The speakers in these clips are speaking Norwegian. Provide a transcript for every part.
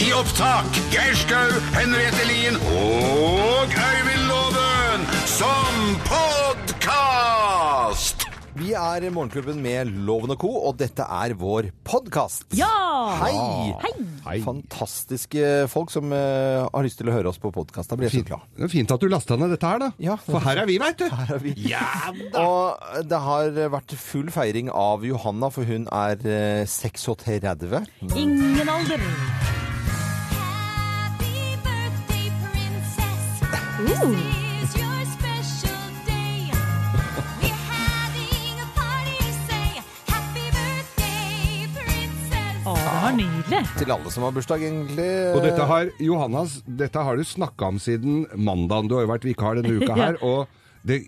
i opptak Geir Skau, Henriette Lien og Øyvind Loven som podkast! Vi er Morgenklubben med Loven og Co., og dette er vår podkast. Ja! Hei! Hei! Hei. Fantastiske folk som eh, har lyst til å høre oss på podkast. Da blir jeg så Fint, glad. det er fint at du lasta ned dette her, da. Ja. For her er vi, veit du. Her er vi. Ja, Og det har vært full feiring av Johanna, for hun er eh, 36. Ingen alder. Happy birthday, princess. Ooh. This is your special day. We're having a party, say. Happy birthday, princess. Å, det var nydelig. Til alle som har bursdag, egentlig. Og dette har, Johannas, dette har du snakka om siden mandagen. Du har jo vært vikar denne uka her. og det,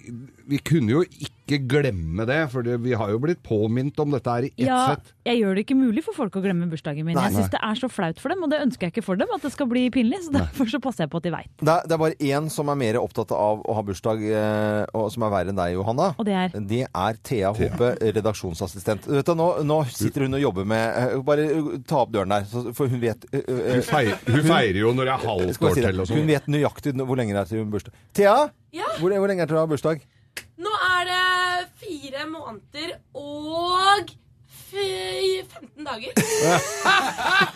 Vi kunne jo ikke glemme det, for det, vi har jo blitt påminnet om dette her i ett Ja, sett. jeg gjør det ikke mulig for folk å glemme bursdagen min. Nei. Jeg syns det er så flaut for dem, og det ønsker jeg ikke for dem at det skal bli pinlig. Så derfor så passer jeg på at de veit. Det er, det er bare én som er mer opptatt av å ha bursdag, eh, og som er verre enn deg, Johanna. Og det er? Det er Thea Hope, redaksjonsassistent. Vet du, nå, nå sitter hun og jobber med eh, Bare eh, ta opp døren der, så- for hun vet eh, eh, Hun feirer, hun feirer jo når det er jeg halvt skal bare si det. år til og Hun sånn. vet nøyaktig nå- hvor lenge det er til hun har bursdag. Thea! Ja? Hvor, hvor lenge er det til du har bursdag? Nå er det fire måneder og fe- 15 dager.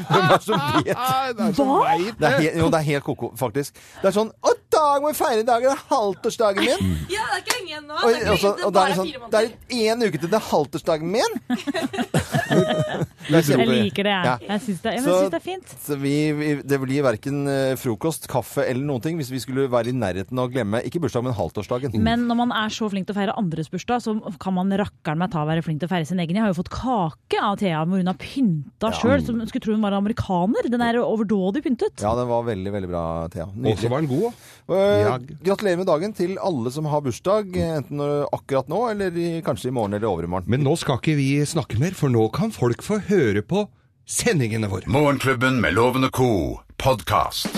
Hvem er det som vet? Hva? Det er helt, jo, det er helt koko, faktisk. Det er sånn Å, dag må vi feire dagen! Det er halvtårsdagen min! Ja, det er ikke lenge igjen nå. Og, Det er, ikke og så- lenge, det og er da er bare det sånn fire Det måneder. er én uke til det er halvtårsdagen min! Jeg liker det, Ja. jeg. Jeg syns det, ja, men Så- jeg syns det er fint. Så vi, vi, det blir verken eh, frokost, kaffe eller noen ting hvis vi skulle være i nærheten av å glemme ikke bursdag, men halvtårsdagen. Mm. Men når man er så flink til å feire andres bursdag, så kan man rakkeren meg ta og være flink til å feire sin egen. Jeg har jo fått kake av Thea hvor hun har pynta sjøl, som skulle tro hun var amerikaner. Den er overdådig pyntet. Ja, den var veldig, veldig bra, Thea. Og så Nydelig. var den god. Eh, Jag. gratulerer med dagen til alle som har bursdag, eh, enten når- akkurat nå eller i, kanskje i morgen eller overmorgen. Men nå skal ikke vi snakke mer, for nå kan folk få høre på sendingene våre. Morgenklubben med Loven og Co. podkast.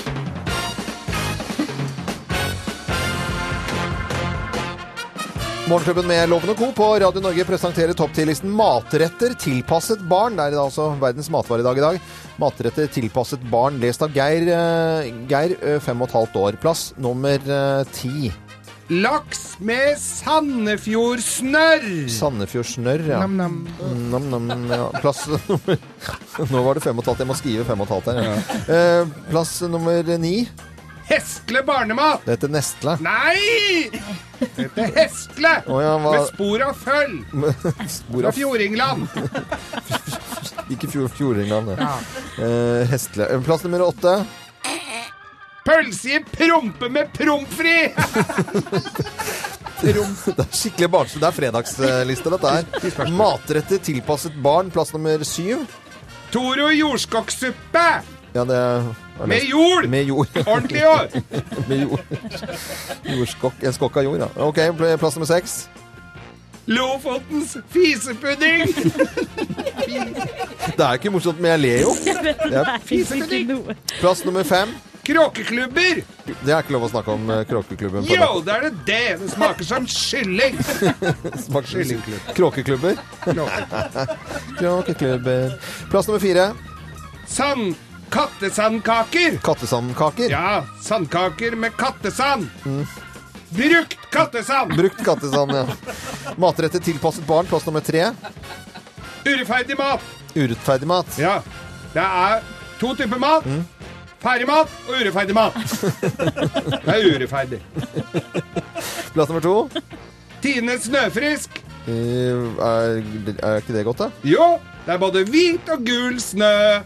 Morgenklubben med Loven og Co. på Radio Norge presenterer topp 10-listen matretter tilpasset barn. Det er altså verdens matvaredag i dag. Matretter tilpasset barn, lest av Geir, eh, Geir eh, fem og et halvt år. Plass nummer eh, ti. Laks med Sandefjordsnørr! Sandefjordsnørr, ja. Nam-nam. Nam, nam, ja. Plass nummer Nå var det fem og et halvt. Jeg må skrive fem og et halvt her. Ja. Eh, Plass nummer ni. Hestle barnemat! Det heter Nestle. Nei! Dette er hestle! Å ja, hva- Med spor av føll Hvor fra er Fjordingland. Ikke fjor, Fjordingland, det. Eh, Hestle. Eh, Plass nummer åtte. Pølse i prompe med prompfri! Det er skikkelig barnslig. Det er fredagsliste, dette her. Matretter tilpasset barn. Plass nummer syv. Toro jordskokksuppe Ja, det er med jord! Med jord. Ordentlig jord! Med jord. Jordskokk. En skokk av jord, ja. OK, pl- plass nummer seks. Lofotens fisepudding! Det er jo ikke morsomt, men jeg ler jo. Jeg vet det er ikke noe. Plass nummer fem. Kråkeklubber! Det er ikke lov å snakke om eh, Kråkeklubben. på Jo, det er det det! Det smaker som kylling! Smak- Kyllingklubb. Kråkeklubber. Kråkeklubber. Plass nummer fire. Sand... Kattesandkaker! Kattesandkaker. Ja, sandkaker med kattesand! Brukt kattesand! Brukt kattesand, ja. Matretter tilpasset barn. Plass nummer tre. Urettferdig mat! Urettferdig mat. Ja. Det er to typer mat. Mm. Ferdig mat og urettferdig mat. Det er urettferdig. Plass nummer to. Tine Snøfrisk. Eh, Er, er ikke det godt, da? Jo, det er både hvit og gul snø.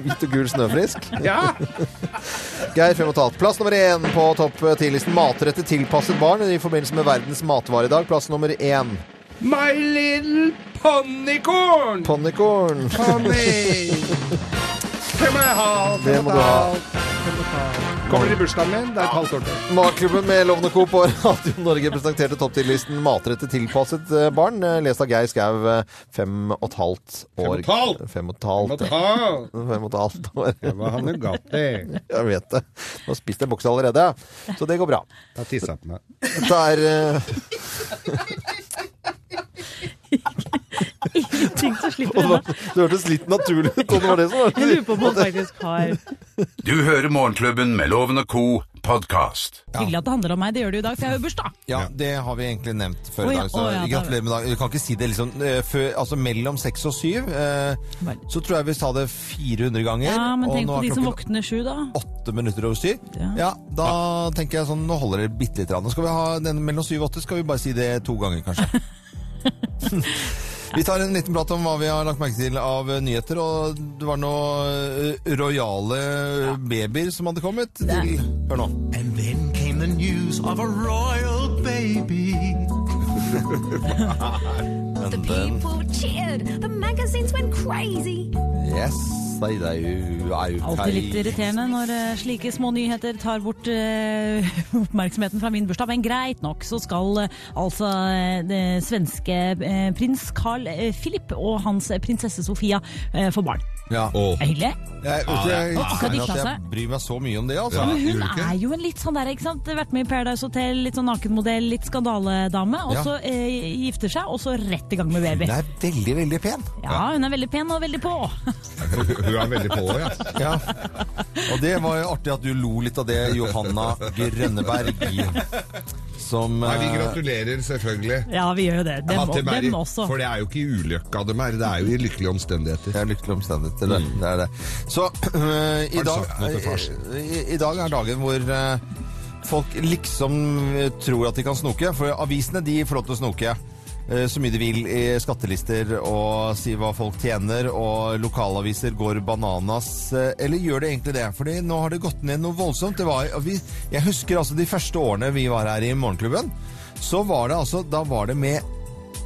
Hvit og gul snøfrisk. Ja. Geir fem og et halvt. Plass nummer én på topp eh, ti-listen. Matretter tilpasset barn i forbindelse med verdens matvaredag. Plass nummer én. My little ponnikorn. Ponnikorn. Ponni. Det må jeg ha. Det må du ha. Kommer i bursdagen min. Det er et halvt år til. Matklubben med Lovende Co. på Radio Norge presenterte topp 10-listen matretter tilpasset eh, barn, eh, lest av Geir Skau, eh, fem og et halvt år. Fem og et halvt? Fem og et Må halvt, du ja. ha. Fem og et halvt år. Det var han Nugatti. Jeg vet det. Du har spist en boks allerede, ja. så det går bra. Jeg har tissa på meg. Dette er eh, ting som slipper unna. Det hørtes litt naturlig ut, og det var det som var Jeg lurer på om han faktisk har Du hører Morgenklubben med Loven og Co. podkast. Hyggelig at det handler om meg, det gjør det jo i dag, for jeg har jo bursdag. Ja, det har vi egentlig nevnt før i Å ja, dag. Så å ja, da- gratulerer med dagen. Du kan ikke si det liksom eh, før, Altså mellom seks og syv. eh, Vel. så tror jeg vi sa det 400 ganger. Ja, men og tenk nå på er de som klokken våkner sju, da. åtte minutter over syv. Ja, Ja. da tenker jeg sånn Nå holder det bitte litt. Nå skal vi ha den mellom syv og åtte. Skal vi bare si det to ganger, kanskje. Vi tar en liten prat om hva vi har lagt merke til av eh, nyheter. Og det var noen eh, rojale babyer som hadde kommet. Til, hør nå. And then came the news of a royal baby. The people cheered. The magazines went crazy. Yes, they, they, I, Alltid litt irriterende når eh, slike små nyheter tar bort eh, oppmerksomheten fra min bursdag, men greit nok så skal eh, altså eh, det svenske eh, prins Carl eh, Philip og hans prinsesse Sofia eh, få barn. Ja. Det er hyggelig. Jeg, vet ikke, jeg, Og akkurat kjenner gikk at av jeg seg. bryr meg så mye om det, altså. Men hun gjør du ikke? er jo en litt sånn der, ikke sant? Vært med i Paradise Hotel, litt sånn nakenmodell, litt skandaledame. Og Ja. så eh, gifter seg, og så rett i gang med Hun baby. er veldig, veldig pen. Ja, hun er veldig pen og veldig på. Hun er veldig på, ja. Ja. Og det var jo artig at du lo litt av det, Johanna Grønneberg. Som Nei, vi eh, gratulerer selvfølgelig. Ja, vi gjør jo det. Dem, At dem er i- dem også. For det er jo ikke i ulykka de er, det er jo i lykkelige omstendigheter. Mm. Jeg er lykkelig omstendigheter. det- Det er det. Så øh, i, Har du dag, sagt noe til farsen? i, i dag er dagen hvor øh, folk liksom øh, tror at de kan snoke. For avisene de får lov til å snoke øh, så mye de vil i skattelister og si hva folk tjener. Og lokalaviser går bananas. øh, Eller gjør det egentlig det? Fordi nå har det gått ned noe voldsomt. Det var, og vi, jeg husker altså de første årene vi var her i Morgenklubben. Så var det altså Da var det med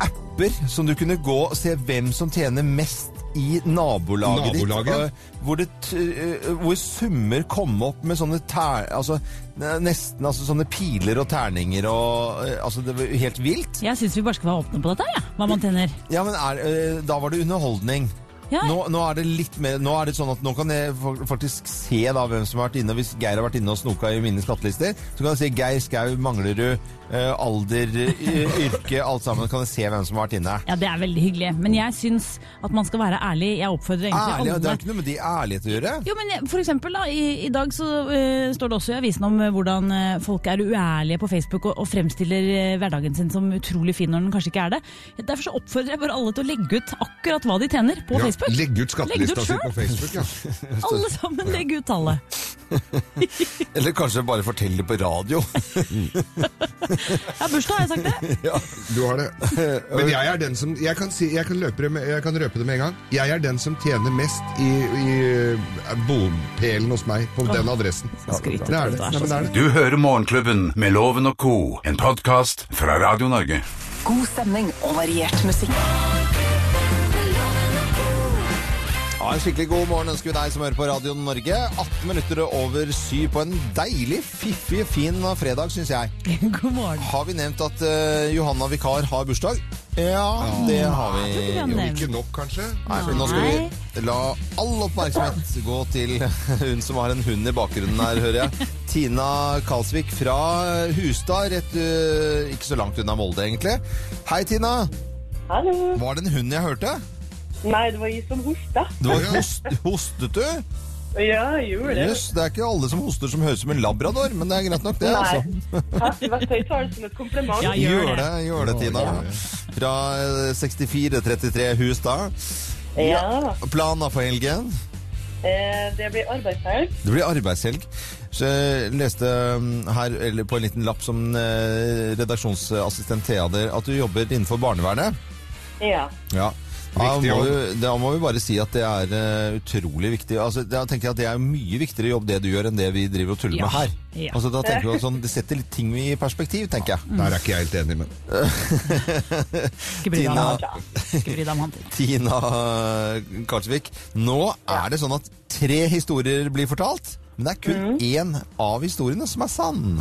apper som du kunne gå og se hvem som tjener mest i nabolaget, Nabolaget? ditt. og Hvor, det, t- eh, hvor summer kom opp med sånne ter, altså, ne- nesten altså, sånne piler og terninger og eh, Altså, det var jo helt vilt. Jeg syns vi bare skal være åpne på dette, her, ja. hva man tjener. Ja, men er, eh, da var det underholdning. Ja. Nå, nå er det litt mer Nå er det sånn at nå kan jeg fa- faktisk se da hvem som har vært inne. Hvis Geir har vært inne og snoka i mine skattelister, så kan jeg si Geir Skau, Manglerud, eh, alder, eh, yrke, alt sammen. Kan jeg se hvem som har vært inne. Ja, det er veldig hyggelig. Men jeg syns at man skal være ærlig. Jeg oppfordrer egentlig Ærlig, ja, det har alle. ikke noe med de ærlighet å gjøre. Jo, men jeg- for eksempel da, i, i dag så eh, står det også i avisen om eh, hvordan eh, folk er uærlige på Facebook og, og fremstiller eh, hverdagen sin som utrolig fin når den kanskje ikke er det. Derfor så oppfordrer jeg bare alle til å legge ut akkurat hva de tjener på Ja, Facebook. legg ut skattelista si på selv. Facebook, ja. Alle sammen legge ut tallet. Eller kanskje bare fortell det på radio. Ja, bursdag har jeg sagt det. Du har det. Men jeg er den som Jeg kan, si, jeg kan, løpe det med, jeg kan røpe det med en gang. Jeg er den som tjener mest i, i bopelen hos meg på den adressen. skryter det er du, det. du er Nei, så men det er det. Du hører Morgenklubben med Loven og Co. En podkast fra Radio Norge. God stemning og variert musikk. Ja, en skikkelig god morgen ønsker vi deg som hører på Radio Norge. 18 minutter over syv på en deilig, fiffig, fin fredag, syns jeg. God morgen. Har vi nevnt at eh, Johanna Vikar har bursdag? Ja, det har vi. Ja, Eh, Jo, nevnt. ikke nok, kanskje? Nei, for nå skal vi la all oppmerksomhet gå til hun som har en hund i bakgrunnen her, hører jeg. Tina Kalsvik fra Hustad, rett øh, ikke så langt unna Molde, egentlig. Hei, Tina. Hallo. Var det en hund jeg hørte? Nei, det var jeg som hosta. Det var host, hostet du? Ja, jeg gjorde det. Jøss, det er ikke alle som hoster som høres ut som en labrador, men det er greit nok, det. Nei. altså. Takk, i hvert fall jeg tar det som et kompliment. Ja, Gjør det, gjør det, Tina. Fra eh, 6433 Hustad. Ja. Planer for helgen? Eh, det blir arbeidshelg. Det blir arbeidshelg. Så jeg leste mm, her, eller på en liten lapp som eh, redaksjonsassistent Thea der, at du jobber innenfor barnevernet. Ja. Ja. Da Viktig må, jobb. vi, da må vi bare si at det er eh, utrolig viktig. Altså, da tenker jeg at Det er mye viktigere jobb det du gjør, enn det vi driver og tuller Ja. med her. Ja. Altså, da tenker vi at sånn, Det setter litt ting i perspektiv, tenker jeg. Der er ikke jeg helt enig, men Ikke bry deg om Tina. han. Ikke bry deg om han. Tina eh, Karlsvik, nå er det sånn at tre historier blir fortalt, men det er Mm. kun én av historiene som er sann.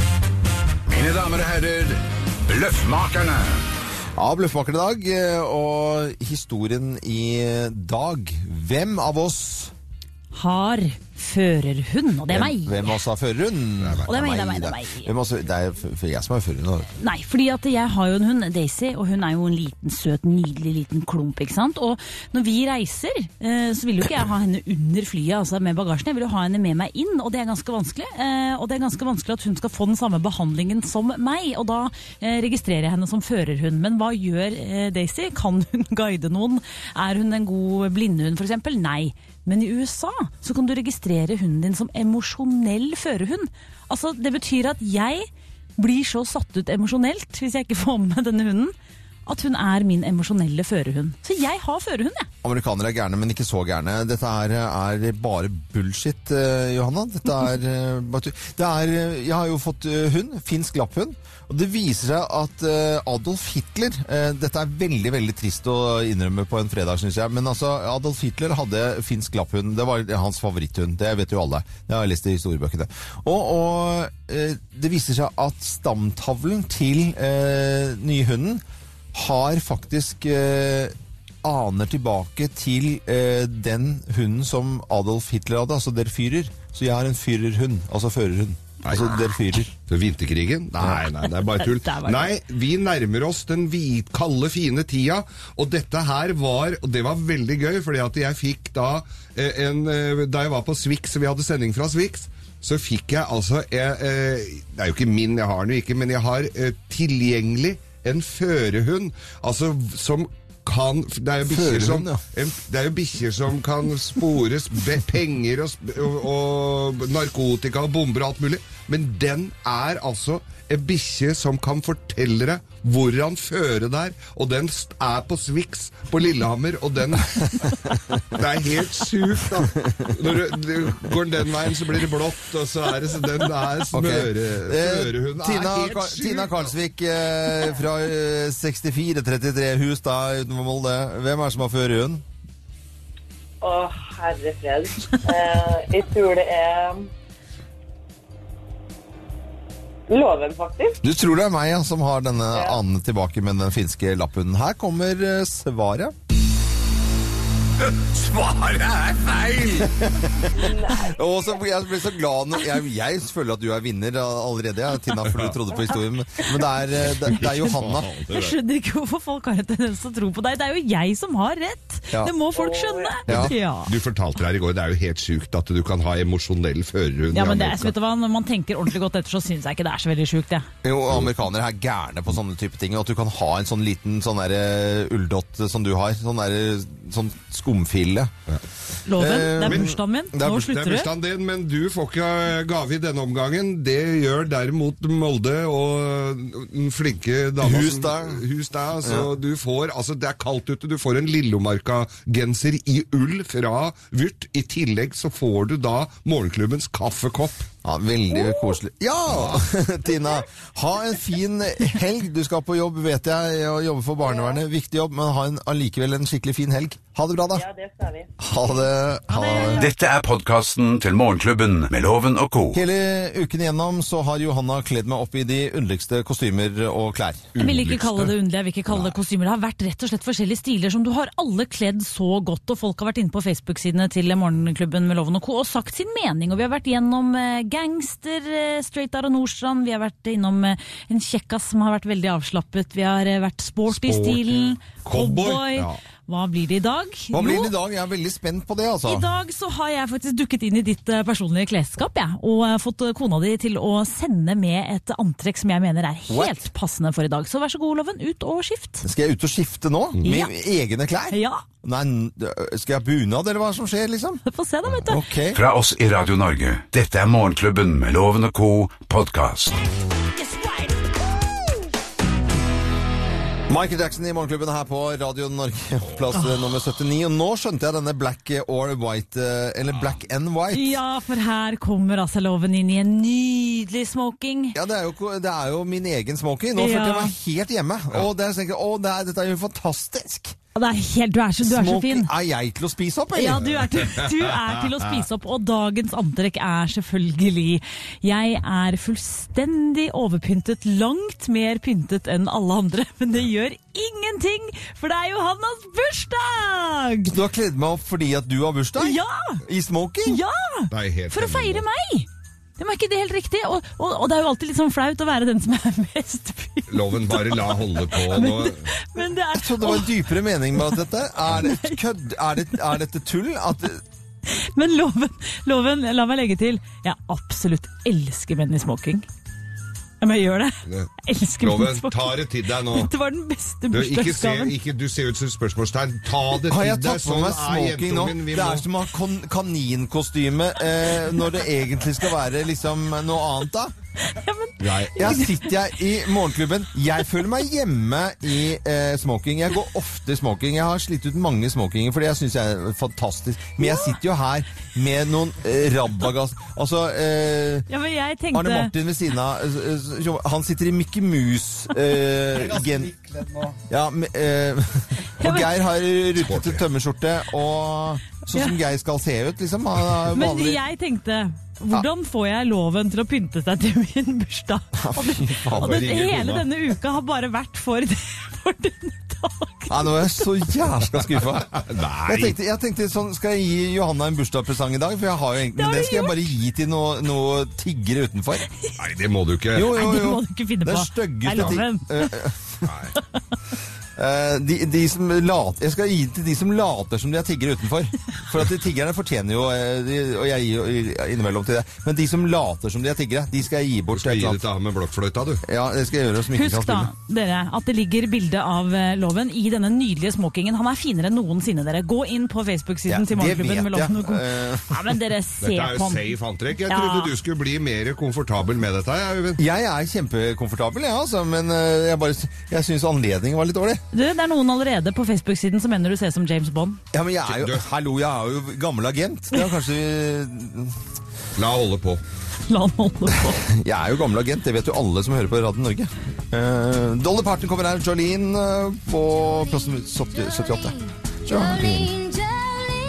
Mine damer og herrer, Bløffmakerne. av Bløffmaker i dag. eh, Og historien i dag Hvem av oss Har førerhund, og det er meg. Hvem av oss har førerhund? Og det er meg, det er meg, det er meg. Hvem av oss- Det er f- f- jeg som er førerhund. Nei, fordi at jeg har jo en hund, Daisy, og hun er jo en liten, søt, nydelig liten klump, ikke sant? Og når vi reiser, eh, så vil jo ikke jeg ha henne under flyet, altså med bagasjen. Jeg vil jo ha henne med meg inn, og det er ganske vanskelig. Eh, Og det er ganske vanskelig at hun skal få den samme behandlingen som meg, og da eh, registrerer jeg henne som førerhund. Men hva gjør eh, Daisy? Kan hun guide noen? Er hun en god blindhund, for eksempel? Nei. Men i USA så kan du registrere hunden din som emosjonell førerhund. Altså, det betyr at jeg blir så satt ut emosjonelt hvis jeg ikke får med meg denne hunden, at hun er min emosjonelle førerhund. Så jeg har førerhund, jeg. Amerikanere er gærne, men ikke så gærne. Dette er, er bare bullshit, eh, Johanna. Dette er, eh, bare tu- det er eh, Jeg har jo fått eh, hund. Finsk lapphund. Og det viser seg at eh, Adolf Hitler eh, Dette er veldig veldig trist å innrømme på en fredag, syns jeg. Men altså, Adolf Hitler hadde finsk lapphund. Det var hans favoritthund. Det vet jo alle. Det har jeg lest i historiebøkene. Og, og eh, det viser seg at stamtavlen til eh, nye hunden har faktisk eh, aner tilbake til eh, den hunden som Adolf Hitler hadde, altså der fyrer. Så jeg har en fyrerhund, altså førerhund. Altså der fyrer. Så vinterkrigen? Nei, nei, det er bare tull. Der var det. Nei, vi nærmer oss den hvit, kalde, fine tida, og dette her var Og det var veldig gøy, fordi at jeg fikk da eh, en eh, Da jeg var på Swix, og vi hadde sending fra Swix, så fikk jeg altså eh, eh, Det er jo ikke min, jeg har den jo ikke, men jeg har eh, tilgjengelig en førerhund, altså som kan Det er jo bikkjer som, Førerhund, ja. en, det er jo bikkjer som kan spores be, penger og, sp- og, og narkotika og bomber og alt mulig. Men den er altså en bikkje som kan fortelle deg hvor han fører der. Og den st- er på Swix på Lillehammer, og den Det er helt sjukt, da. Når du, du går den veien, så blir det blått, og så er det så Den er Ok. smøre... Eh, Smørehund er Tina, helt Ka- sjuk. Tina Karlsvik eh, fra eh, 6433 hus da utenfor Molde. Hvem er det som har førerhund? Å, herre fred. Eh, jeg tror det er Loven, faktisk. Du tror det er meg ja, som har denne anen tilbake med den finske lapphunden. Her kommer eh, svaret. Svaret er feil! Og så ble jeg ble så glad når jeg, jeg føler at du er vinner allerede, ja, Tina, for du trodde på historien. Men men det er, eh, det, det er Johanna. Jeg skjønner ikke hvorfor folk har en tendens til å tro på deg. Det er jo jeg som har rett! Ja. Det må folk skjønne. Ja. Du fortalte her i går, det er jo helt sjukt at du kan ha emosjonell førerhund. Ja, i men det, er- Amerika. vet du hva, Når man tenker ordentlig godt etter, så syns jeg ikke det er så veldig sjukt. jeg. Jo, amerikanere er gærne på sånne type ting. og At du kan ha en sånn liten sånn derre ulldott som du har. Sånn, derre- sånn skumfille. Loven, Eh, det er men- bursdagen min. det er burs- Nå Det er slutter du. bursdagen din, men du får ikke eh, gave i denne omgangen. Det gjør derimot Molde og den flinke dama Hus som- der. Hus der, så du får, altså Det er kaldt ute, du får en Lillomarka-genser i ull fra Vyrt. I tillegg så får du da morgenklubbens kaffekopp. Ja, Veldig koselig. Ja! Tina, ha en fin helg. Du skal på jobb, vet jeg, og jobbe for barnevernet. Viktig jobb, men ha en, allikevel en skikkelig fin helg. Ha det bra, da. Ja, det skal vi. Ha det. Ha det. Dette er podkasten til Morgenklubben med Loven og co. Hele uken igjennom så har Johanna kledd meg opp i de underligste kostymer og klær. Jeg vil ikke kalle det underlig, jeg vil ikke kalle det kostymer. Det har vært rett og slett forskjellige stiler som du har alle kledd så godt, og folk har vært inne på Facebook-sidene til Morgenklubben med Loven og Co. og sagt sin mening. Og vi har vært gjennom eh, gangster, eh, straight out av Nordstrand, vi har vært innom eh, en kjekkas som har vært veldig avslappet, vi har eh, vært sporty i Sporty. stilen, Cowboy. cowboy. Ja. Hva blir det i dag? Hva blir Jo, det i dag? Jeg er veldig spent på det, altså. i dag så har jeg faktisk dukket inn i ditt eh, personlige klesskap jeg, og eh, fått eh, kona di til å sende med et antrekk som jeg mener er helt What? passende for i dag. Så vær så god, Loven, ut og skift. Skal jeg ut og skifte nå? Med Ja. egne klær? Ja, Nei, n- øh, skal jeg ha bunad, eller hva som skjer, liksom? få se da, vet du. Ok. Fra oss i Radio Norge. Dette er Morgenklubben med Loven og co. podkast. Michael Jackson i Morgenklubben her på Radio Norge, plass øh, nummer 79. Og nå skjønte jeg denne black øh, or white, eh, eller black and white. Ja, for her kommer altså Loven inn i en nydelig smoking. Ja, det er, jo, ko- det er jo min egen smoking. Nå følte jeg Ja. meg helt hjemme. Og der tenker jeg, å, det er, dette er jo fantastisk. Det er helt, du er så, du er så Smoking, fin. er jeg til å spise opp, eller? Ja, du er, til, du er til å spise opp, og dagens antrekk er selvfølgelig Jeg er fullstendig overpyntet, langt mer pyntet enn alle andre, men det gjør ingenting, for det er Johannas bursdag! bursdag! Du har kledd meg opp fordi at du har bursdag? Ja! I smoking? Ja! Det er helt For å enig. feire meg! Det var ikke det helt riktig. Og, og, og det er jo alltid litt sånn flaut å være den som er mest fyr. Loven, bare la holde på nå. Men det er Så det var en dypere mening med at dette er det et kødd? Er, det, er dette tull? At, Men loven, loven, la meg legge til. Jeg absolutt elsker menn i smoking. Ja, men jeg gjør det. Jeg elsker menn i Loven, smoking. ta det til deg nå. Dette var den beste Du, ikke se, bursdagsgaven. ikke, du ser ut som et spørsmålstegn. Ta har det til jeg deg. tatt på Sånn meg er smoking nå? jenteungen. Vi Det må er som å ha kon kaninkostyme eh, når det egentlig skal være liksom noe annet, da. Ja, men, Nei. Jeg sitter jeg i morgenklubben. Jeg føler meg hjemme i eh, smoking. Jeg går ofte i smoking. Jeg har slitt ut mange smokinger, for det syns jeg er fantastisk. Men jeg sitter jo her med noen eh, rabagass... Altså eh, ja, men jeg Arne tenkte Martin ved siden av eh, eh, Han sitter i Mickey Mouse-gen... ja, men, eh, og Geir har rutete Sporty. tømmerskjorte og Sånn som Geir skal se ut, liksom. Han er Men vanlig. jeg tenkte hvordan får jeg loven til å pynte seg til min bursdag? Og, det, og den, ringer hele kona. denne uka har bare vært for, for denne dagen. Nei, nå er jeg så jævla skuffa. Jeg Nei, tenkte, jeg tenkte sånn, Skal jeg gi Johanna en bursdagspresang i dag? For jeg har jo egentlig, Det har men det du skal jeg bare gi til noen noe tiggere utenfor. nei, det må du ikke. Jo, jo, Nei, det jo. må du ikke finne Det på. er stygge Nei, loven. Nei. Eh, de, de som later, jeg skal gi til de som later som de er tiggere utenfor. For at de tiggerne fortjener jo eh, de, Og jeg gir jo innimellom til det. Men de som later som de er tiggere, de skal jeg gi Du bort. skal til gi et det eller annet. til han med blokkfløyta, du. Ja, det skal jeg gjøre. Som ikke Husk da, kan spille. dere, at det ligger bilde av eh, Loven i denne nydelige smokingen. Han er finere enn noensinne, dere. Gå inn på Ja, Facebook-siden til det Morgenklubben med vet jeg. Loven og Co. Eh, Ja, men dere, se Dette er på jo ham. safe antrekk. Jeg Ja. trodde du skulle bli mer komfortabel med dette. jeg, Øyvind. Jeg er kjempekomfortabel, jeg, altså. Men eh, jeg, bare- jeg syns anledningen var litt dårlig. Du, det er noen allerede på Facebook-siden som mener du ser som James Bond. Ja, men jeg er jo, Du- Hallo, jeg er jo gammel agent. Det er kanskje La holde på. La han holde på. Jeg er jo gammel agent, det vet jo alle som hører på Radio Norge. Uh, Dolly Parton kommer her, Jolene eh, på plass nummer 70 78. Jolene.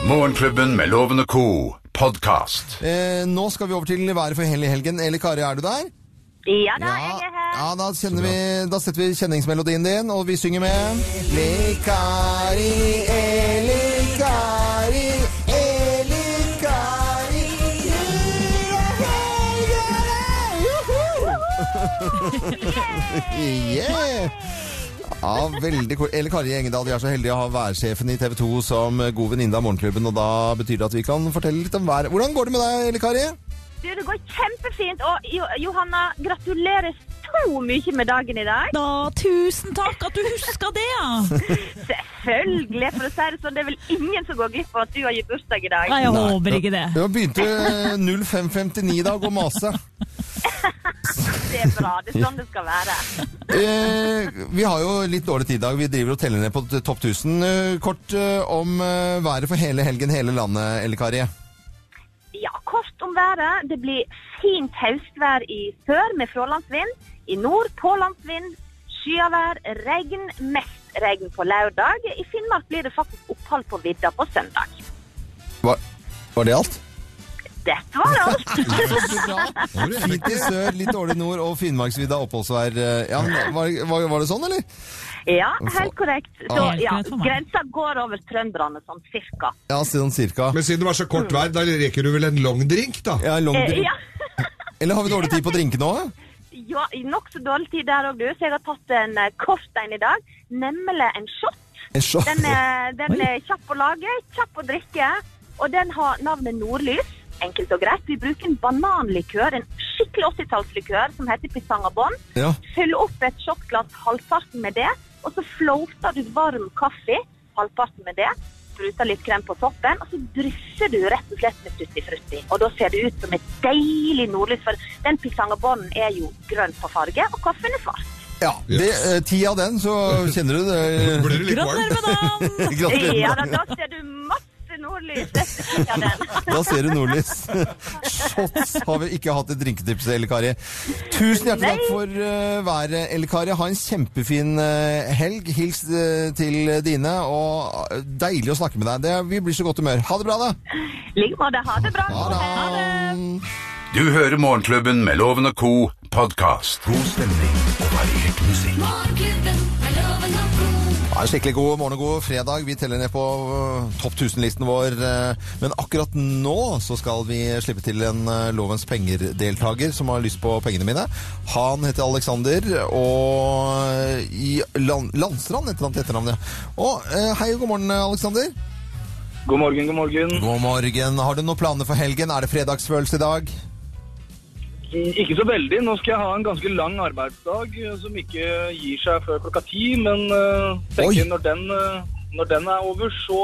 Morgenklubben med Loven og Co. Podcast. Eh, nå skal vi over til været for hele helgen. Eli Kari, er du der? Ja da, Ja, jeg er her. ja da, kjenner vi, da setter vi kjenningsmelodien din, og vi synger med Eli Kari, Eli Kari, Eli Kari. Yeah! Ja, veldig cool. Eller Kari Engedal, vi er så heldige å ha værsjefen i TV 2 som god venninne av Morgenklubben, og da betyr det at vi kan fortelle litt om været. Hvordan går det med deg, Elle Kari? Du, det går kjempefint. Og Jo- Johanna, gratulerer så mye med dagen i dag. Da, tusen takk at du huska det, ja! Selvfølgelig, for å si det sånn. Det er vel ingen som går glipp av at du har gitt bursdag i dag. Nei, jeg håper ikke det. Du har begynt eh, 05.59 i dag og mase. Det er bra. Det er sånn det skal være. Eh, vi har jo litt dårlig tid i dag. Vi driver og teller ned på t- topp 1000. Eh, kort eh, om eh, været for hele helgen, hele landet, Elle Kari. Ja, kort om været. Det blir fint høstvær i sør med frålandsvind. I nord pålandsvind, skyavær, regn, mest regn på lørdag. I Finnmark blir det faktisk opphold på vidda på søndag. Var, var det alt? Dette var alt. Fint i sør, litt dårlig nord og Finnmarksvidda oppholdsvær. eh, Ja, men var, var, var det sånn, eller? Ja, helt korrekt. Så Helt ja, greit for meg. grensa går over trønderne sånn cirka. Ja, sånn cirka. Men siden det var så kort vær, da reker du vel en long drink, da? Ja, long, Eh, ja. eller har vi dårlig tid på å drinke nå? eh? ja Nokså dårlig tid der òg, du. Så jeg har tatt en eh, kort en i dag, nemlig en shot. En shot. Den eh, er, den er kjapp å lage, kjapp å drikke, og den har navnet Nordlys. Enkelt og greit. Vi bruker en bananlikør, en skikkelig 80-tallslikør som heter pisangabon. Ja. Fyll opp et shotglass halvparten med det, og så floater du varm kaffe halvparten med det. Spruter litt krem på toppen, og så drysser du rett og slett med tutti frutti. Og da ser det ut som et deilig nordlys, for den pisangabonnen er jo grønn på farge, og kaffen er svart. ja. Det, eh, ti av den, så kjenner du det. Blir det litt Gratulerer varmt? med dagen! Gratulerer. Ja, da, da ser du masse nordlys etter tida den. Da ser du nordlys. Shots har vi ikke hatt et drinketips, Elle Kari. Tusen hjertelig takk for eh, været, Elle Kari. Ha en kjempefin eh, helg. Hils eh, til dine, og eh, deilig å snakke med deg. Det, vi blir så godt humør. Ha det bra, da. I like måte. Ha det bra. Ha det. Du hører Morgenklubben med Loven og Co. Podcast. God stemning og variert musikk. Morgenklubben med Loven og Co. Ja, en skikkelig god morgen og god fredag. Vi teller ned på øh, topp 1000-listen vår. øh, Men akkurat nå så skal vi slippe til en øh, Lovens penger-deltaker som har lyst på pengene mine. Han heter Alexander, og øh, i Lan Landstrand heter han til etternavn, ja. Og øh, hei og god morgen, Alexander. God morgen, god morgen. God morgen. Har du noen planer for helgen? Er det fredagsfølelse i dag? Ikke så veldig. Nå skal jeg ha en ganske lang arbeidsdag eh, som ikke gir seg før klokka ti. Men eh, Oi. tenker når den, eh, når den er over, så,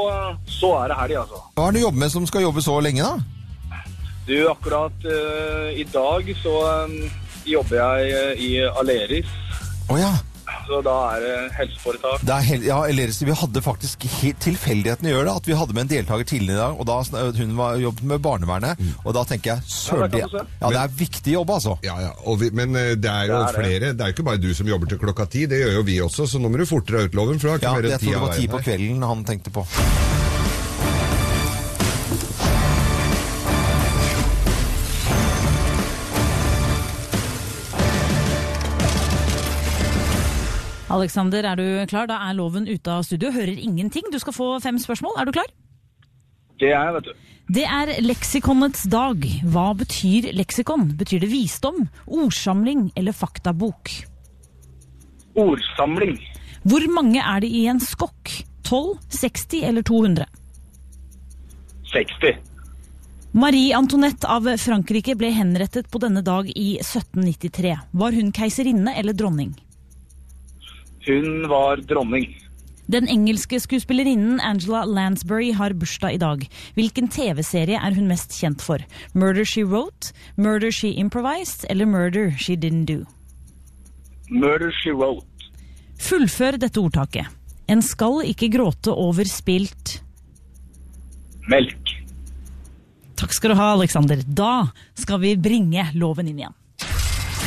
så er det helg, altså. Hva er det du jobber med som skal jobbe så lenge, da? Du, akkurat eh, i dag så eh, jobber jeg eh, i Aleris. Å ja. Så da er det helseforetak. Det er hel ja, Lerus, vi hadde faktisk helt tilfeldigheten gjør det, at vi hadde med en deltaker tidligere i dag, og da sn- hun var jobbet med barnevernet, og da tenker jeg, Ja, søren, det det, kan du se. ja, det er viktig jobb, altså. Ja, ja. Og vi, men eh, det er jo Det er det. flere. Det er jo ikke bare du som jobber til klokka ti. Det gjør jo vi også, så nå må du fortere ut loven. For det er Ja, ikke mer jeg enn tror ti det av var ti veien på her. kvelden han tenkte på. Alexander, er du klar? Da er loven ute av studio, hører ingenting. Du skal få fem spørsmål. Er du klar? Det er jeg, vet du. Det er leksikonets dag. Hva betyr leksikon? Betyr det visdom, ordsamling eller faktabok? Ordsamling. Hvor mange er det i en skokk? 12, 60 eller 200? 60. Marie Antoinette av Frankrike ble henrettet på denne dag i 1793. Var hun keiserinne eller dronning? Hun var dronning. Den engelske skuespillerinnen Angela Lansbury har bursdag i dag. Hvilken TV-serie er hun mest kjent for? Murder She Wrote, Murder She Improvised eller Murder She Didn't Do? Murder she wrote. Fullfør dette ordtaket. En skal ikke gråte over spilt Melk. Takk skal du ha, Alexander. Da skal vi bringe loven inn igjen.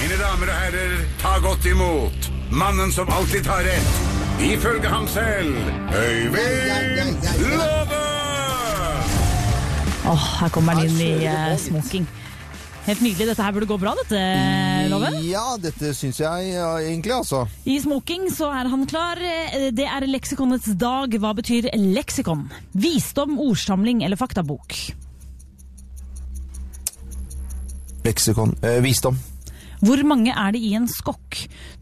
Mine damer og herrer, ta godt imot mannen som alltid tar rett. Ifølge ham selv Øyvind Låve! Åh, her kommer han inn i eh, smoking. Helt nydelig. Dette her burde gå bra, dette, Eh, Mm. Loven. Ja, dette synes jeg ja, egentlig, altså. I smoking så er han klar. Eh, Det er leksikonets dag. Hva betyr leksikon? Visdom, ordsamling eller faktabok? Leksikon, eh, visdom. Hvor mange er det i en skokk?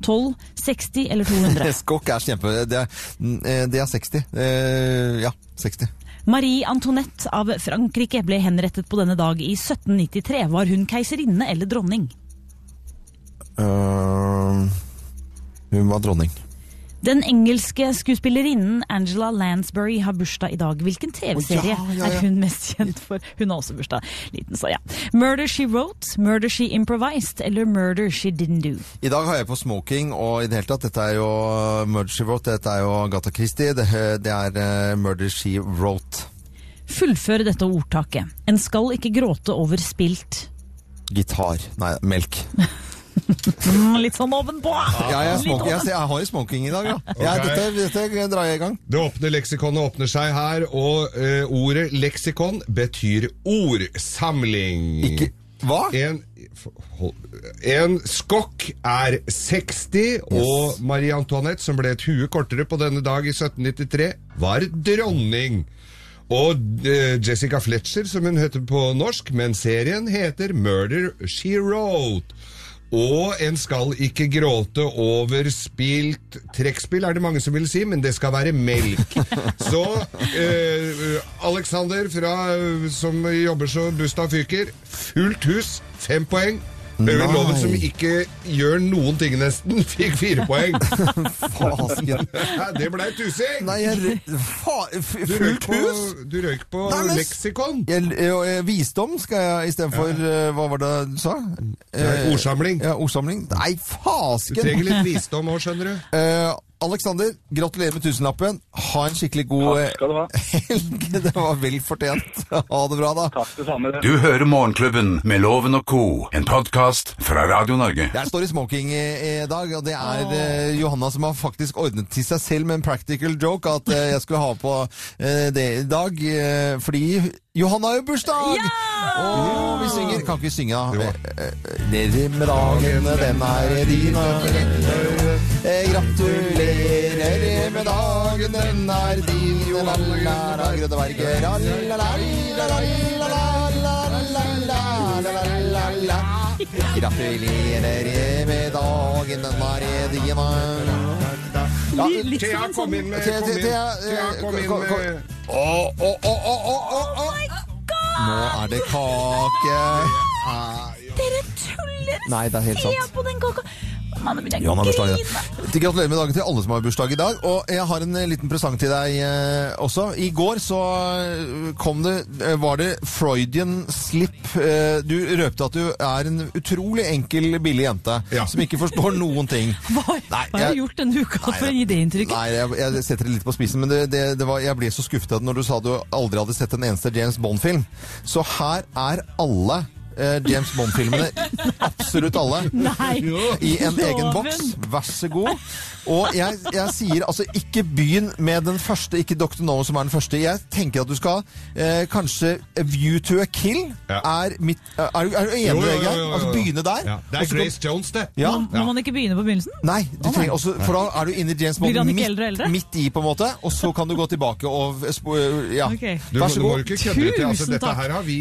12, 60 eller 200? Skokk er kjempe, det er, mm, eh, det er 60. Eh, ja, 60. Marie Antoinette av Frankrike ble henrettet på denne dag i 1793. Var hun keiserinne eller dronning? Eh, hun var dronning. Den engelske skuespillerinnen Angela Lansbury har bursdag i dag. Hvilken TV-serie Å, ja, ja, ja. er hun mest kjent for? Hun har også bursdag. Liten, så ja. Murder She Wrote, Murder She Improvised eller Murder She Didn't Do? I dag har jeg på smoking, og i det hele tatt, dette er jo Murder She Wrote, dette er jo Agatha Christie, det, det er eh, Murder She Wrote. Fullfør dette ordtaket. En skal ikke gråte over spilt. Gitar. Nei, melk. Mm, litt sånn ovenpå! Ja, jeg, er Litt smoking, jeg, jeg har jo smoking i dag, ja. Ah. ja Ok. dette, dette drar jeg i gang. Det åpne leksikonet åpner seg her, og eh, ordet leksikon betyr ordsamling. Ikke Hva? En, hold- en skokk er 60, og Marie Antoinette, som ble et hue kortere på denne dag i 1793, var dronning. Og eh, Jessica Fletcher, som hun heter på norsk, men serien heter Murder She Wrote. Og en skal ikke gråte over spilt trekkspill, er det mange som vil si, men det skal være melk. Så eh, Alexander, fra, eh, som jobber som Busta fyker, fullt hus, fem poeng. Øyvind Loven, som ikke gjør noen ting nesten, fikk fire poeng. Fasken. Det ble tussing! Nei, jeg rø- fa, f- Du røyk Fullt på, hus? du røyk på Nei, men- leksikon. Jeg, jeg, jeg- visdom skal jeg istedenfor eh, Hva var det du sa? Nei, Eh, Ordsamling. Ja, ordsamling. Nei, Du fasken! trenger litt visdom òg, skjønner du. Eh, Alexander, gratulerer med tusenlappen. Ha en skikkelig god Takk skal du ha. eh, helg. Det var vel fortjent. Ha det bra, da. Takk det samme. Du hører Morgenklubben med Loven og co., en podkast fra Radio Norge. Jeg står i smoking i, i dag, og det er eh, Johanna som har faktisk ordnet til seg selv med en practical joke at eh, jeg skulle ha på eh, det i dag. eh, fordi Johanna har jo bursdag! Ja! Og vi synger Kan ikke vi synge, da? Eh, eh, Nedi med dagene, den er din. og- Eh, Gratulerer med dagen, den er din. La-la-la, grønne verger. La-la-la-la-la-la-la-la-la-la-la-la. Gratulerer med dagen, den er din. Ja, Thea, kom inn med Thea, kom inn. Thea, eh, Thea, kom inn kom- kom- med Å, å, å, å, å, å, å. Nå er det kake. Dere tuller! Nei, det er helt Se sant. på den kaka! Mann, det blir jeg Johan har bursdag i grine. dag. Til Gratulerer med dagen til alle som har bursdag i dag. Og jeg har en eh, liten presang til deg eh, også. I går så eh, kom det eh, Var det Freudian slip? Eh, du røpte at du er en utrolig enkel, billig jente som ikke forstår noen ting. Hva, hva har jeg- du gjort denne uka for å gi det inntrykket? Nei, jeg, jeg setter det litt på spissen, men det, det, det var, jeg ble så skuffet at når du sa du aldri hadde sett en eneste James Bond-film. Så her er alle eh, James Bond-filmene, absolutt alle, Nei. i en egen boks. Vær så god. Og jeg, jeg sier altså ikke begynn med den første, ikke Dr. No som er den første. Jeg tenker at du skal eh, kanskje A View to a Kill er mitt Er, er du- er du Jo, enig, jo, jo, Egil? jo, jo. Altså begynne der. Ja. Det og så er gå- Grace Jones, det. Ja. Må, må man ikke begynne på begynnelsen? Nei, du Å, nei. trenger også, for da er du inne i James Bond Blir han ikke midt, eldre og eldre? midt i, på en måte. Og så kan du gå tilbake og spo- Ja. Ok. Du, Vær så du må god. jo ikke kødde ut. Altså, Tusen dette takk. her har vi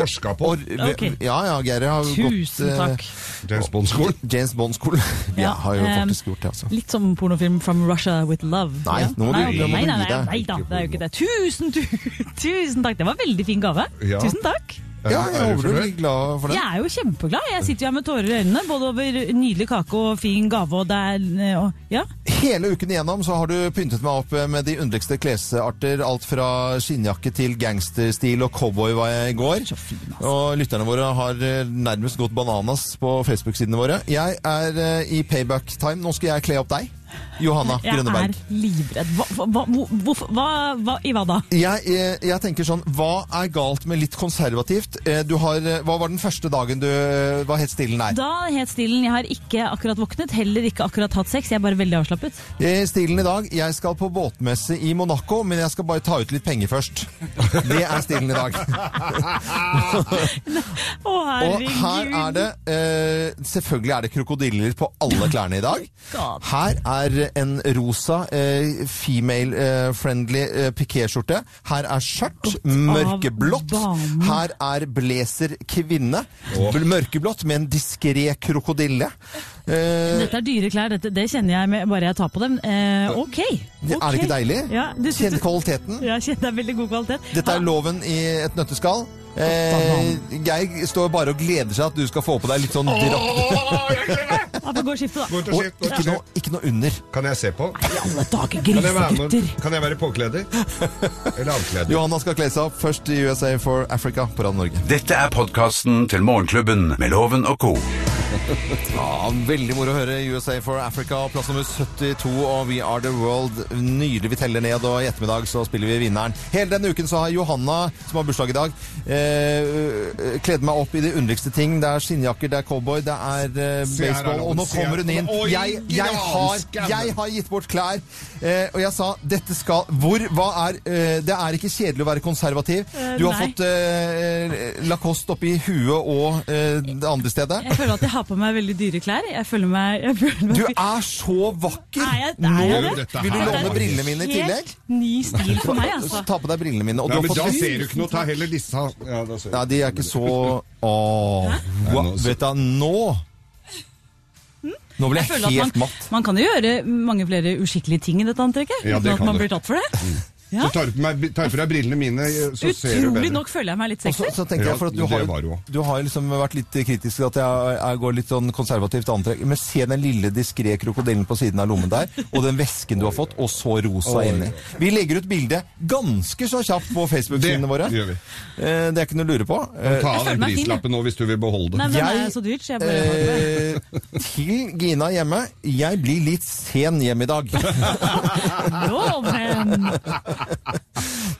forska på. Ok. Ja, ja, Geir har jo gått Tusen eh, takk. James Bond-skolen. James Bond-skolen. Vi Ja, har jo ehm, faktisk gjort det, altså. Litt som pornofilm From Russia With Love. Nei, nå må du nei, gi- nå må nei, du gi nei, nei, deg. nei da, det er jo ikke det. Tusen, tu, tusen takk! Det var en veldig fin gave. Ja. Tusen takk. Ja, jeg Er du håper du blir fornøyd? glad for det. Jeg er jo kjempeglad. Jeg sitter jo her med tårer i øynene, både over nydelig kake og fin gave og det er eh, og, Ja. Hele uken igjennom så har du pyntet meg opp eh, med de underligste klesarter. Alt fra skinnjakke til gangsterstil og cowboy var jeg i går. altså. Og lytterne våre har eh, nærmest gått bananas på Facebook-sidene våre. Jeg er eh, i payback-time. Nå skal jeg kle opp deg, Johanna Jeg er Grønneberg. livredd. Hva, hva, hva, hvorfor- hva, hva, I hva da? Jeg, eh, jeg tenker sånn, Hva er galt med litt konservativt? Eh, Du har, eh, hva var den første dagen du eh, Hva het stilen der? Da het stilen 'Jeg har ikke akkurat våknet', heller ikke akkurat hatt sex. Jeg er bare veldig avslappet. Eh, Stilen i dag Jeg skal på båtmesse i Monaco, men jeg skal bare ta ut litt penger først. Det er stilen i dag. Å, Og herregud. her er det eh, Selvfølgelig er det krokodiller på alle klærne i dag. God. Her er en rosa female-friendly eh, pikéskjorte. Her er skjørt, mørkeblått. banen. Her er blazer kvinne. bl- Mørkeblått med en diskré krokodille. Eh, Dette er dyre klær, dette, det kjenner jeg med, bare jeg tar på dem. Eh, ok. Er det ikke deilig? Ja, du Kjenn synes, kvaliteten. ja, kjenner det er veldig god kvalitet. Dette er loven i et nøtteskall. Eh, Geir står bare og gleder seg at du skal få på deg litt sånn drakt. Ja, ja, gå og skifte, da. Gå ut og Og skift, gå ut og ikke noe, skift. ikke noe under. Kan jeg se på? I alle dager, Kan jeg være, med, grisegutter! kan jeg være påkleder? Eller avkleder? Johanna skal kle seg opp først i USA for Africa på Radio Norge. Dette er podkasten til Morgenklubben med Loven og co. Ja, Veldig moro å høre USA for Africa, plass nummer 72 og We Are The World. Nydelig. Vi teller ned, og i ettermiddag så spiller vi vinneren. Hele denne uken så har Johanna, som har bursdag i dag, eh, øh, kledd meg opp i de underligste ting. Det er skinnjakker, det er cowboy, det er eh, Se her, baseball, og nå Arnold, se kommer hun her. inn. Oi, Jeg, jeg, har, granskanne. jeg har gitt bort klær, eh, og jeg sa dette skal Hvor? Hva er eh, Det er ikke kjedelig å være konservativ. Eh, Du har nei. fått eh, Lacoste oppi huet og eh, det andre stedet. Jeg føler at jeg har på meg veldig dyre klær. Jeg føler meg, jeg føler meg Du er så vakker! Er jeg- er jeg Nå det? Dette vil du her er låne jo brillene mine i tillegg. Helt ny stil for meg, altså. Så ta på deg brillene mine. Og du Nei, men har da fått ser du ikke noe. Ta heller disse. Ja, da ser du. Nei, de er ikke så Åh, hva- nå så- Vet du, nå Nå ble Jeg jeg føler at helt man, matt. man kan jo gjøre mange flere uskikkelige ting i dette antrekket. Ja, uten det at kan man du. blir tatt for det. Mm. Ja. Så tar du på meg- tar du på deg brillene mine, så ser du Utrolig bedre. nok føler jeg meg litt Og så, sexy. så tenker jeg for at du Ja, det har, var det jo. du har liksom vært litt kritisk til at jeg, jeg går litt sånn konservativt antrekk. Men se den lille diskré krokodillen på siden av lommen der, og den vesken du har fått, og så rosa inni. Vi legger ut bilde ganske så kjapt på Facebook-sidene våre. Det gjør vi. Eh, Det er ikke noe å lure på. Eh, Ta Jeg av føler den meg fin, prislappen nå hvis du vil beholde Nei, men den. det Jeg- er så dyrt, så jeg bare Eh, til Gina hjemme. Jeg blir litt sen hjem i dag. Eh, Loven!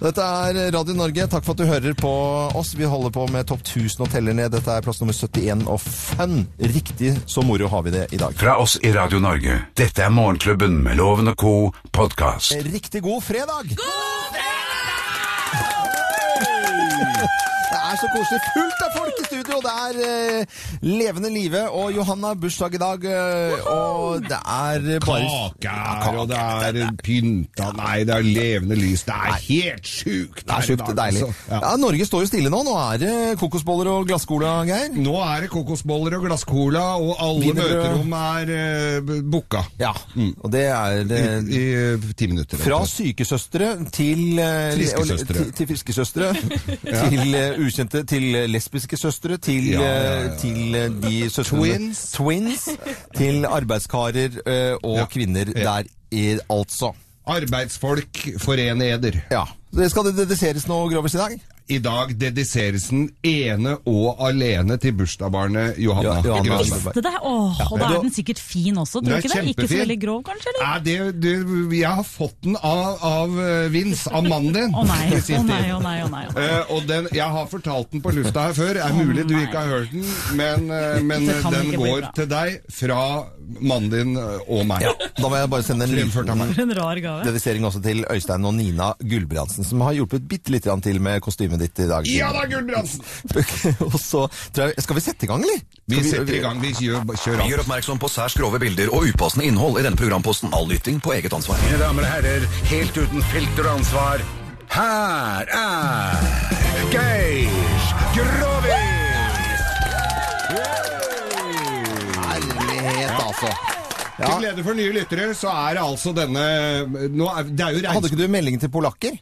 Dette er Radio Norge. Takk for at du hører på oss. Vi holder på med Topp 1000 og teller ned. Dette er plass nummer 71 og fun. Riktig så moro har vi det i dag. Fra oss i Radio Norge. Dette er Morgenklubben med Loven og co. podkast. Riktig god fredag! God fredag! Det er så så koselig. Fullt av folk i studio! Det er eh, levende live, og Johanna har bursdag i dag. eh, og det er eh, bare Kaker, og det er pynta Nei, det er levende lys. Det er helt sjukt! Det er sjukt deilig. altså. Ja. Norge står jo stille nå. Nå er det kokosboller og glasscola, Geir. Nå er det kokosboller og glasscola, og alle Wienerbrød. møterom er eh, booka. Ja, Mm. og det er I, i eh, ti minutter. Fra sykesøstre til eh, Friskesøstre. til, til friskesøstre. Til eh, ukjente Til eh, lesbiske søstre. Til, Ja, ja, ja, eh, til eh, de søstrene Twins. Twins, Til arbeidskarer eh, og kvinner der, i, altså. Arbeidsfolk, forene eder. Ja. Det skal det dediseres nå, Grovis, i dag? I dag dediseres den ene og alene til bursdagsbarnet Johanna. Ja, Johanna Grønberg. Visste det? Åh, og da er den sikkert fin også, tror Den du er ikke det? Ikke så kjempefin. veldig grov, kanskje? eller? Nei, det, det, jeg har fått den av, av eh, Vince, av mannen din. Å nei, i å sin nei, tid. å nei. å nei. Eh, og den, Jeg har fortalt den på lufta her før. Er mulig du ikke har hørt den, men, eh, men Det kan den ikke bli går bra. til deg fra mannen din eh, og meg. Da må jeg bare sende en Fremført av liten meg. For en rar gave. dedisering også til Øystein og Nina Gulbrandsen, som har hjulpet bitte lite grann til med kostymet ditt i dag. Ja da, Gulbrandsen! og så tror jeg Skal vi sette i gang, eller? Vi Skal setter i gang. Vi kjører, kjører Vi av. gjør oppmerksom på særs grove bilder og upassende innhold i denne programposten. All lytting på eget ansvar. Mine damer og herrer, helt uten filter og ansvar, her er Geir Grovis! Herlighet, altså. Ja. Til glede for nye lyttere, så er det altså denne nå er, Det er jo Hadde regnskog... ikke du melding til polakker?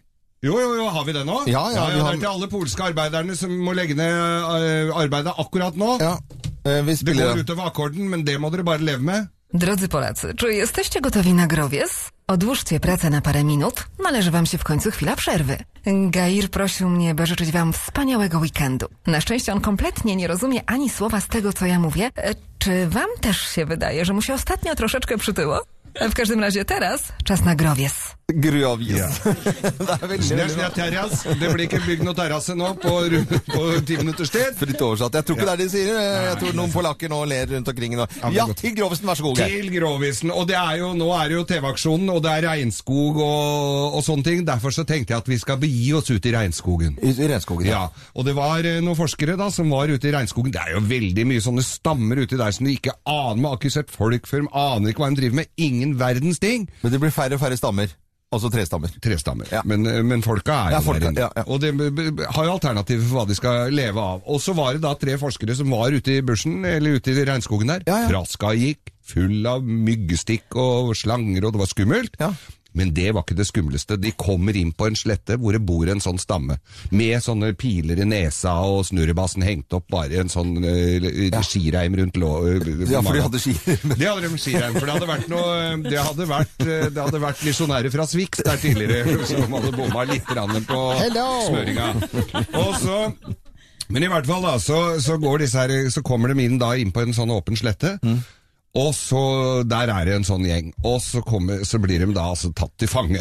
Jo, jo, jo, har vi det nå? Ja, ja, vi det har- er til alle polske arbeiderne som må legge ned eh, arbeidet akkurat nå. Ja. Eh, Vi Det spiller går utover akkorden, men det må dere bare leve med. Drodzy Polacy, czy jesteście gotowi na growiec? Odłóżcie pracę na parę minut, należy wam się w końcu chwila przerwy. Gair prosił mnie, by życzyć wam wspaniałego weekendu. Na szczęście on kompletnie nie rozumie ani słowa z tego, co ja mówię. E, Czy wam też się wydaje, że mu się ostatnio troszeczkę przytyło? E, W każdym razie teraz czas na growiec. Gruavis. det er veldig, Det er veldig sånn bra. at terras. Det blir ikke bygd noe terrasse nå på, ru- på ti minutters tid. Fritt oversatt. Jeg tror ikke det er det de sier. Eh, Jeg tror noen polakker nå ler rundt omkring. Nå. men Ja, godt. til Grovesen, vær så god. Geir. Til Grovisen. Og det er jo, nå er det jo TV-aksjonen, og det er regnskog og, og sånne ting. Derfor så tenkte jeg at vi skal begi oss ut i regnskogen. I i regnskogen. Ja, og det var eh, noen forskere da som var ute i regnskogen. Det er jo veldig mye sånne stammer ute der som de ikke aner med. Har ikke sett folk før, de aner ikke hva de driver med. Ingen verdens ting. Men det blir færre og færre stammer. Altså trestammer. Trestammer. Ja. Men, eh, men folka er Ja, jo folka, der inne. ja, ja. Og de b- b- har jo alternativer for hva de skal leve av. Og så var det da tre forskere som var ute i bushen, eller ute i regnskogen der. Ja, ja. Traska gikk, full av myggestikk og slanger, og det var skummelt. Ja. Men det var ikke det skumleste. De kommer inn på en slette hvor det bor en sånn stamme, med sånne piler i nesa og snurrebassen hengt opp, bare en sånn eh, skireim rundt lå... eh, Ja, for de hadde skier. Det hadde de skirenn, for det hadde vært noe Det hadde vært, eh, det hadde vært misjonærer fra Swix der tidligere som hadde bomma litt grann på Hello! smøringa. Og så Men i hvert fall, da, så, så, går disse her, så kommer de inn da inn på en sånn åpen slette. Og så Der er det en sånn gjeng. Og så, kommer, så blir de da altså tatt til fange.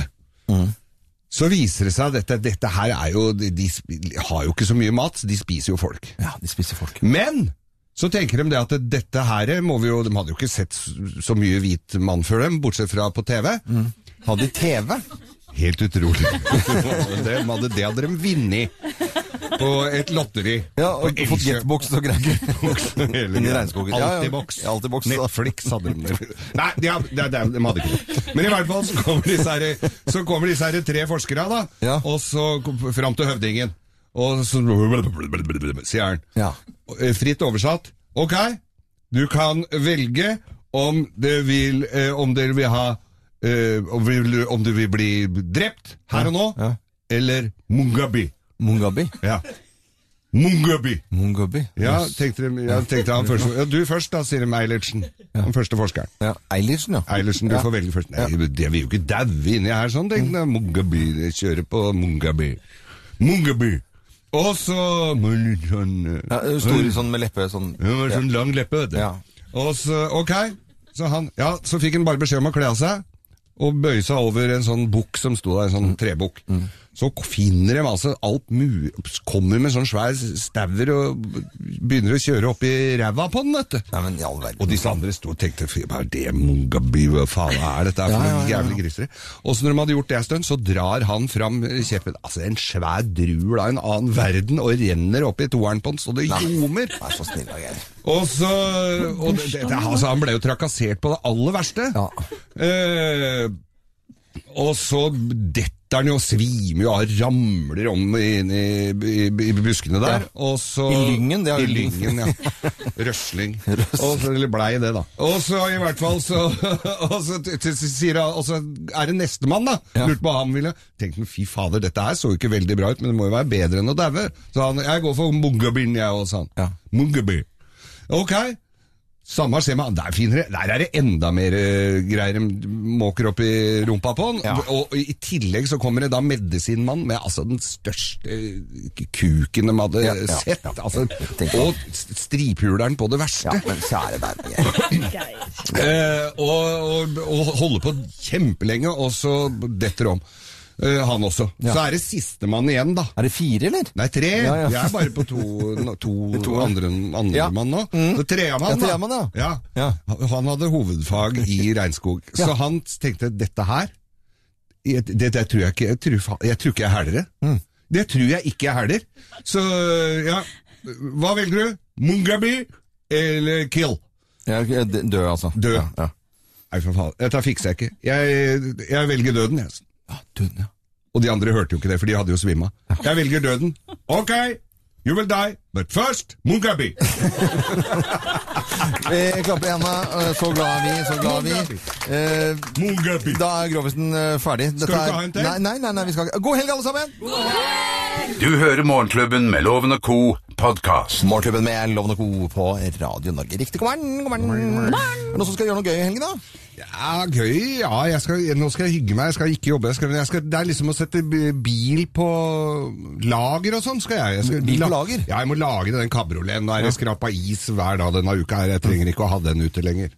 Så viser det seg at dette, dette her er jo de, de sp- har jo ikke så mye mat, så de spiser jo folk. Ja, de spiser folk. Men så tenker de det at dette her må vi jo De hadde jo ikke sett så mye hvit mann før dem, bortsett fra på TV. Hadde de TV? Helt utrolig. det hadde, det hadde de vunnet på et lotteri. Ja, og På fått Elkjøp. jetbox og greier. Hele Inni greia. regnskogen. Ja, ja. Altibox. Ja, Altibox, da. Netflix hadde de. Nei, de, har- de, de, de hadde ikke det. Men i hvert fall så kommer disse her, så kommer disse her tre forskere, da, Ja. og så kom- fram til høvdingen. Og så sier han Ja. Eh, Fritt oversatt. Ok, du kan velge om, det vil, eh, om dere vil ha eh, om, vil, om du vil bli drept her og nå, ja. eller Mungabi. Mungabi. Ja. Mungabi. Mungabi. Ja, tenkte, de, ja, tenkte han først. Ja, du først, da, sier de Eilertsen. Den første forskeren. Ja, Eilertsen, ja. Eilertsen, du Ja. får velge først. Nei, det vil jo ikke daue inni her, sånn, tenkte jeg. Mungaby, jeg kjører på Mungaby. Mungaby! Og så ja Stor sånn med leppe sånn. Hun var sånn lang leppe, vet du. Ja. Og så, ok, så han, ja, så Mm. fikk han bare beskjed om å kle av seg, og bøye seg over en sånn bukk som sto der, en sånn trebukk. Så k- finner de altså alt mu... Kommer med sånn svær staur og begynner å kjøre opp i ræva på den, vet du. og disse andre sto og tenkte "Fy, Hva er det, Mungabi, hva faen er dette her for Ja, ja, noen ja, ja. jævlig grisere? Og så når de hadde gjort det en stund, så drar han fram kjeppen. Altså, en svær drul av en annen verden og renner opp i toeren på den, så det ljomer. Vær så snill, Geir. Og så og det, det, altså, Han ble jo trakassert på det aller verste. Eh, og så detter han jo og svimer jo av, ramler om inn i, i, i buskene der. Ja. Og så, I lyngen, det er I jo- lyngen, ja. Røsling. Og så, eller blei det, da. Og så i hvert fall så, og så, t- t- sier han, og så er det nestemann, da. Lurte på hva han ville. Tenkte han, fy fader, dette her så jo ikke veldig bra ut, men det må jo være bedre enn å daue. Så han, jeg går for Mungabin, jeg òg, sa han. Mungabin. Ok, samme skjer med han. Der, finner, jeg- der er det enda mer eh, greier de måker opp i rumpa på han. Og, og i tillegg så kommer det da medisinmann med altså den største eh, k- kuken de hadde Ja, ja, sett. Altså, og s- striphuleren på det verste. Ja, men kjære eh, og, og, og holder på kjempelenge, og så detter om. Eh, han også. Så er det sistemann igjen, da. Er det fire, eller? Nei, tre. Ja, ja. Jeg er bare på to, to, To, to ja. andre, andre Ja. Mm. mann nå. Så Ja, treamann, treamann, ja. ja. Han hadde hovedfag i regnskog. Så Ja. han tenkte dette her jeg- det, det tror jeg ikke Jeg tror, fa- jeg tror ikke jeg hæler det. Mm. Det tror jeg ikke jeg hæler. Så ja Hva velger du? Mungabi eller Kill? død, altså. Død. Nei, for faen. Dette fikser jeg ikke. Jeg, jeg velger døden, jeg. døden, ja. Og de andre hørte jo ikke det, for de hadde jo svimma. Jeg velger døden. Ok, you will die, but first Mungabi. Vi klapper i hendene. eh, Så glad er vi, så glad er vi. Eh, Da er Grovisen eh, ferdig. Dette Skal du ikke er- ha en til? Nei, nei, nei, nei, vi skal ikke. God helg, alle sammen! Du hører Morgenklubben med Loven og Co. podkast. Morgenklubben med Loven og Co. på Radio Norge. Riktig, god morgen, god morgen. Er det noen som skal gjøre noe gøy i helgen, da? Ja, gøy. Ja, jeg skal, nå skal jeg hygge meg. Jeg skal ikke jobbe. Jeg skal, men jeg skal, det er liksom å sette b- bil på lager og sånn. skal jeg. jeg skal, Bil på la- lager? Ja, jeg må lagre den kabrioleten. Da er det Ja. skrapa is hver dag denne uka. her. Jeg trenger ikke å ha den ute lenger.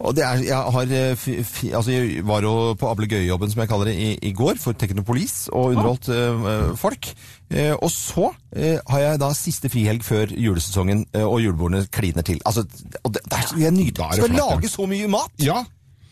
Og det er, jeg, har, eh, fi- fi- altså jeg var jo på ablegøyejobben, som jeg kaller det, i, i går for Teknopolis, og underholdt eh, eh, folk. Eh, og så eh, har jeg da siste frihelg før julesesongen, eh, og julebordene kliner til. Altså, og det, det er, så- jeg nyter er det. det Skal flott, ja. lage så mye mat! Ja.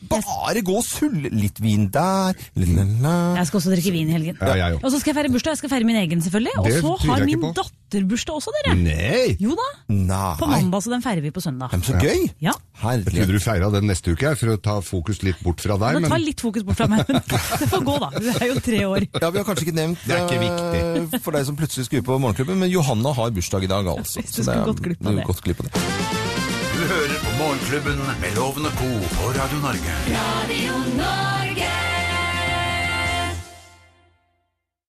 Bare gå og sulle. Litt vin der, litt la, la. Jeg skal også drikke vin i helgen. Ja, jeg Og så skal jeg feire bursdag. Jeg skal feire min egen, selvfølgelig. Og Det så tviler har jeg ikke min på. datter bursdag også, dere. Nei. Jo da. Nei. På mandag, så den feirer vi på søndag. Men så gøy. Ja. Jeg trodde du feira den neste uke her, for å ta fokus litt bort fra deg. Nå tar litt fokus bort fra meg, men det får gå, da. Hun er jo tre år. Ja, Vi har kanskje ikke nevnt Det er ikke eh, for deg som plutselig skulle på morgenklubben, men Johanna har bursdag i dag, altså. du skulle gått glipp av du det. gått glipp av det. Du hører på Morgenklubben med Loven og Co. på Radio Norge. Radio Norge.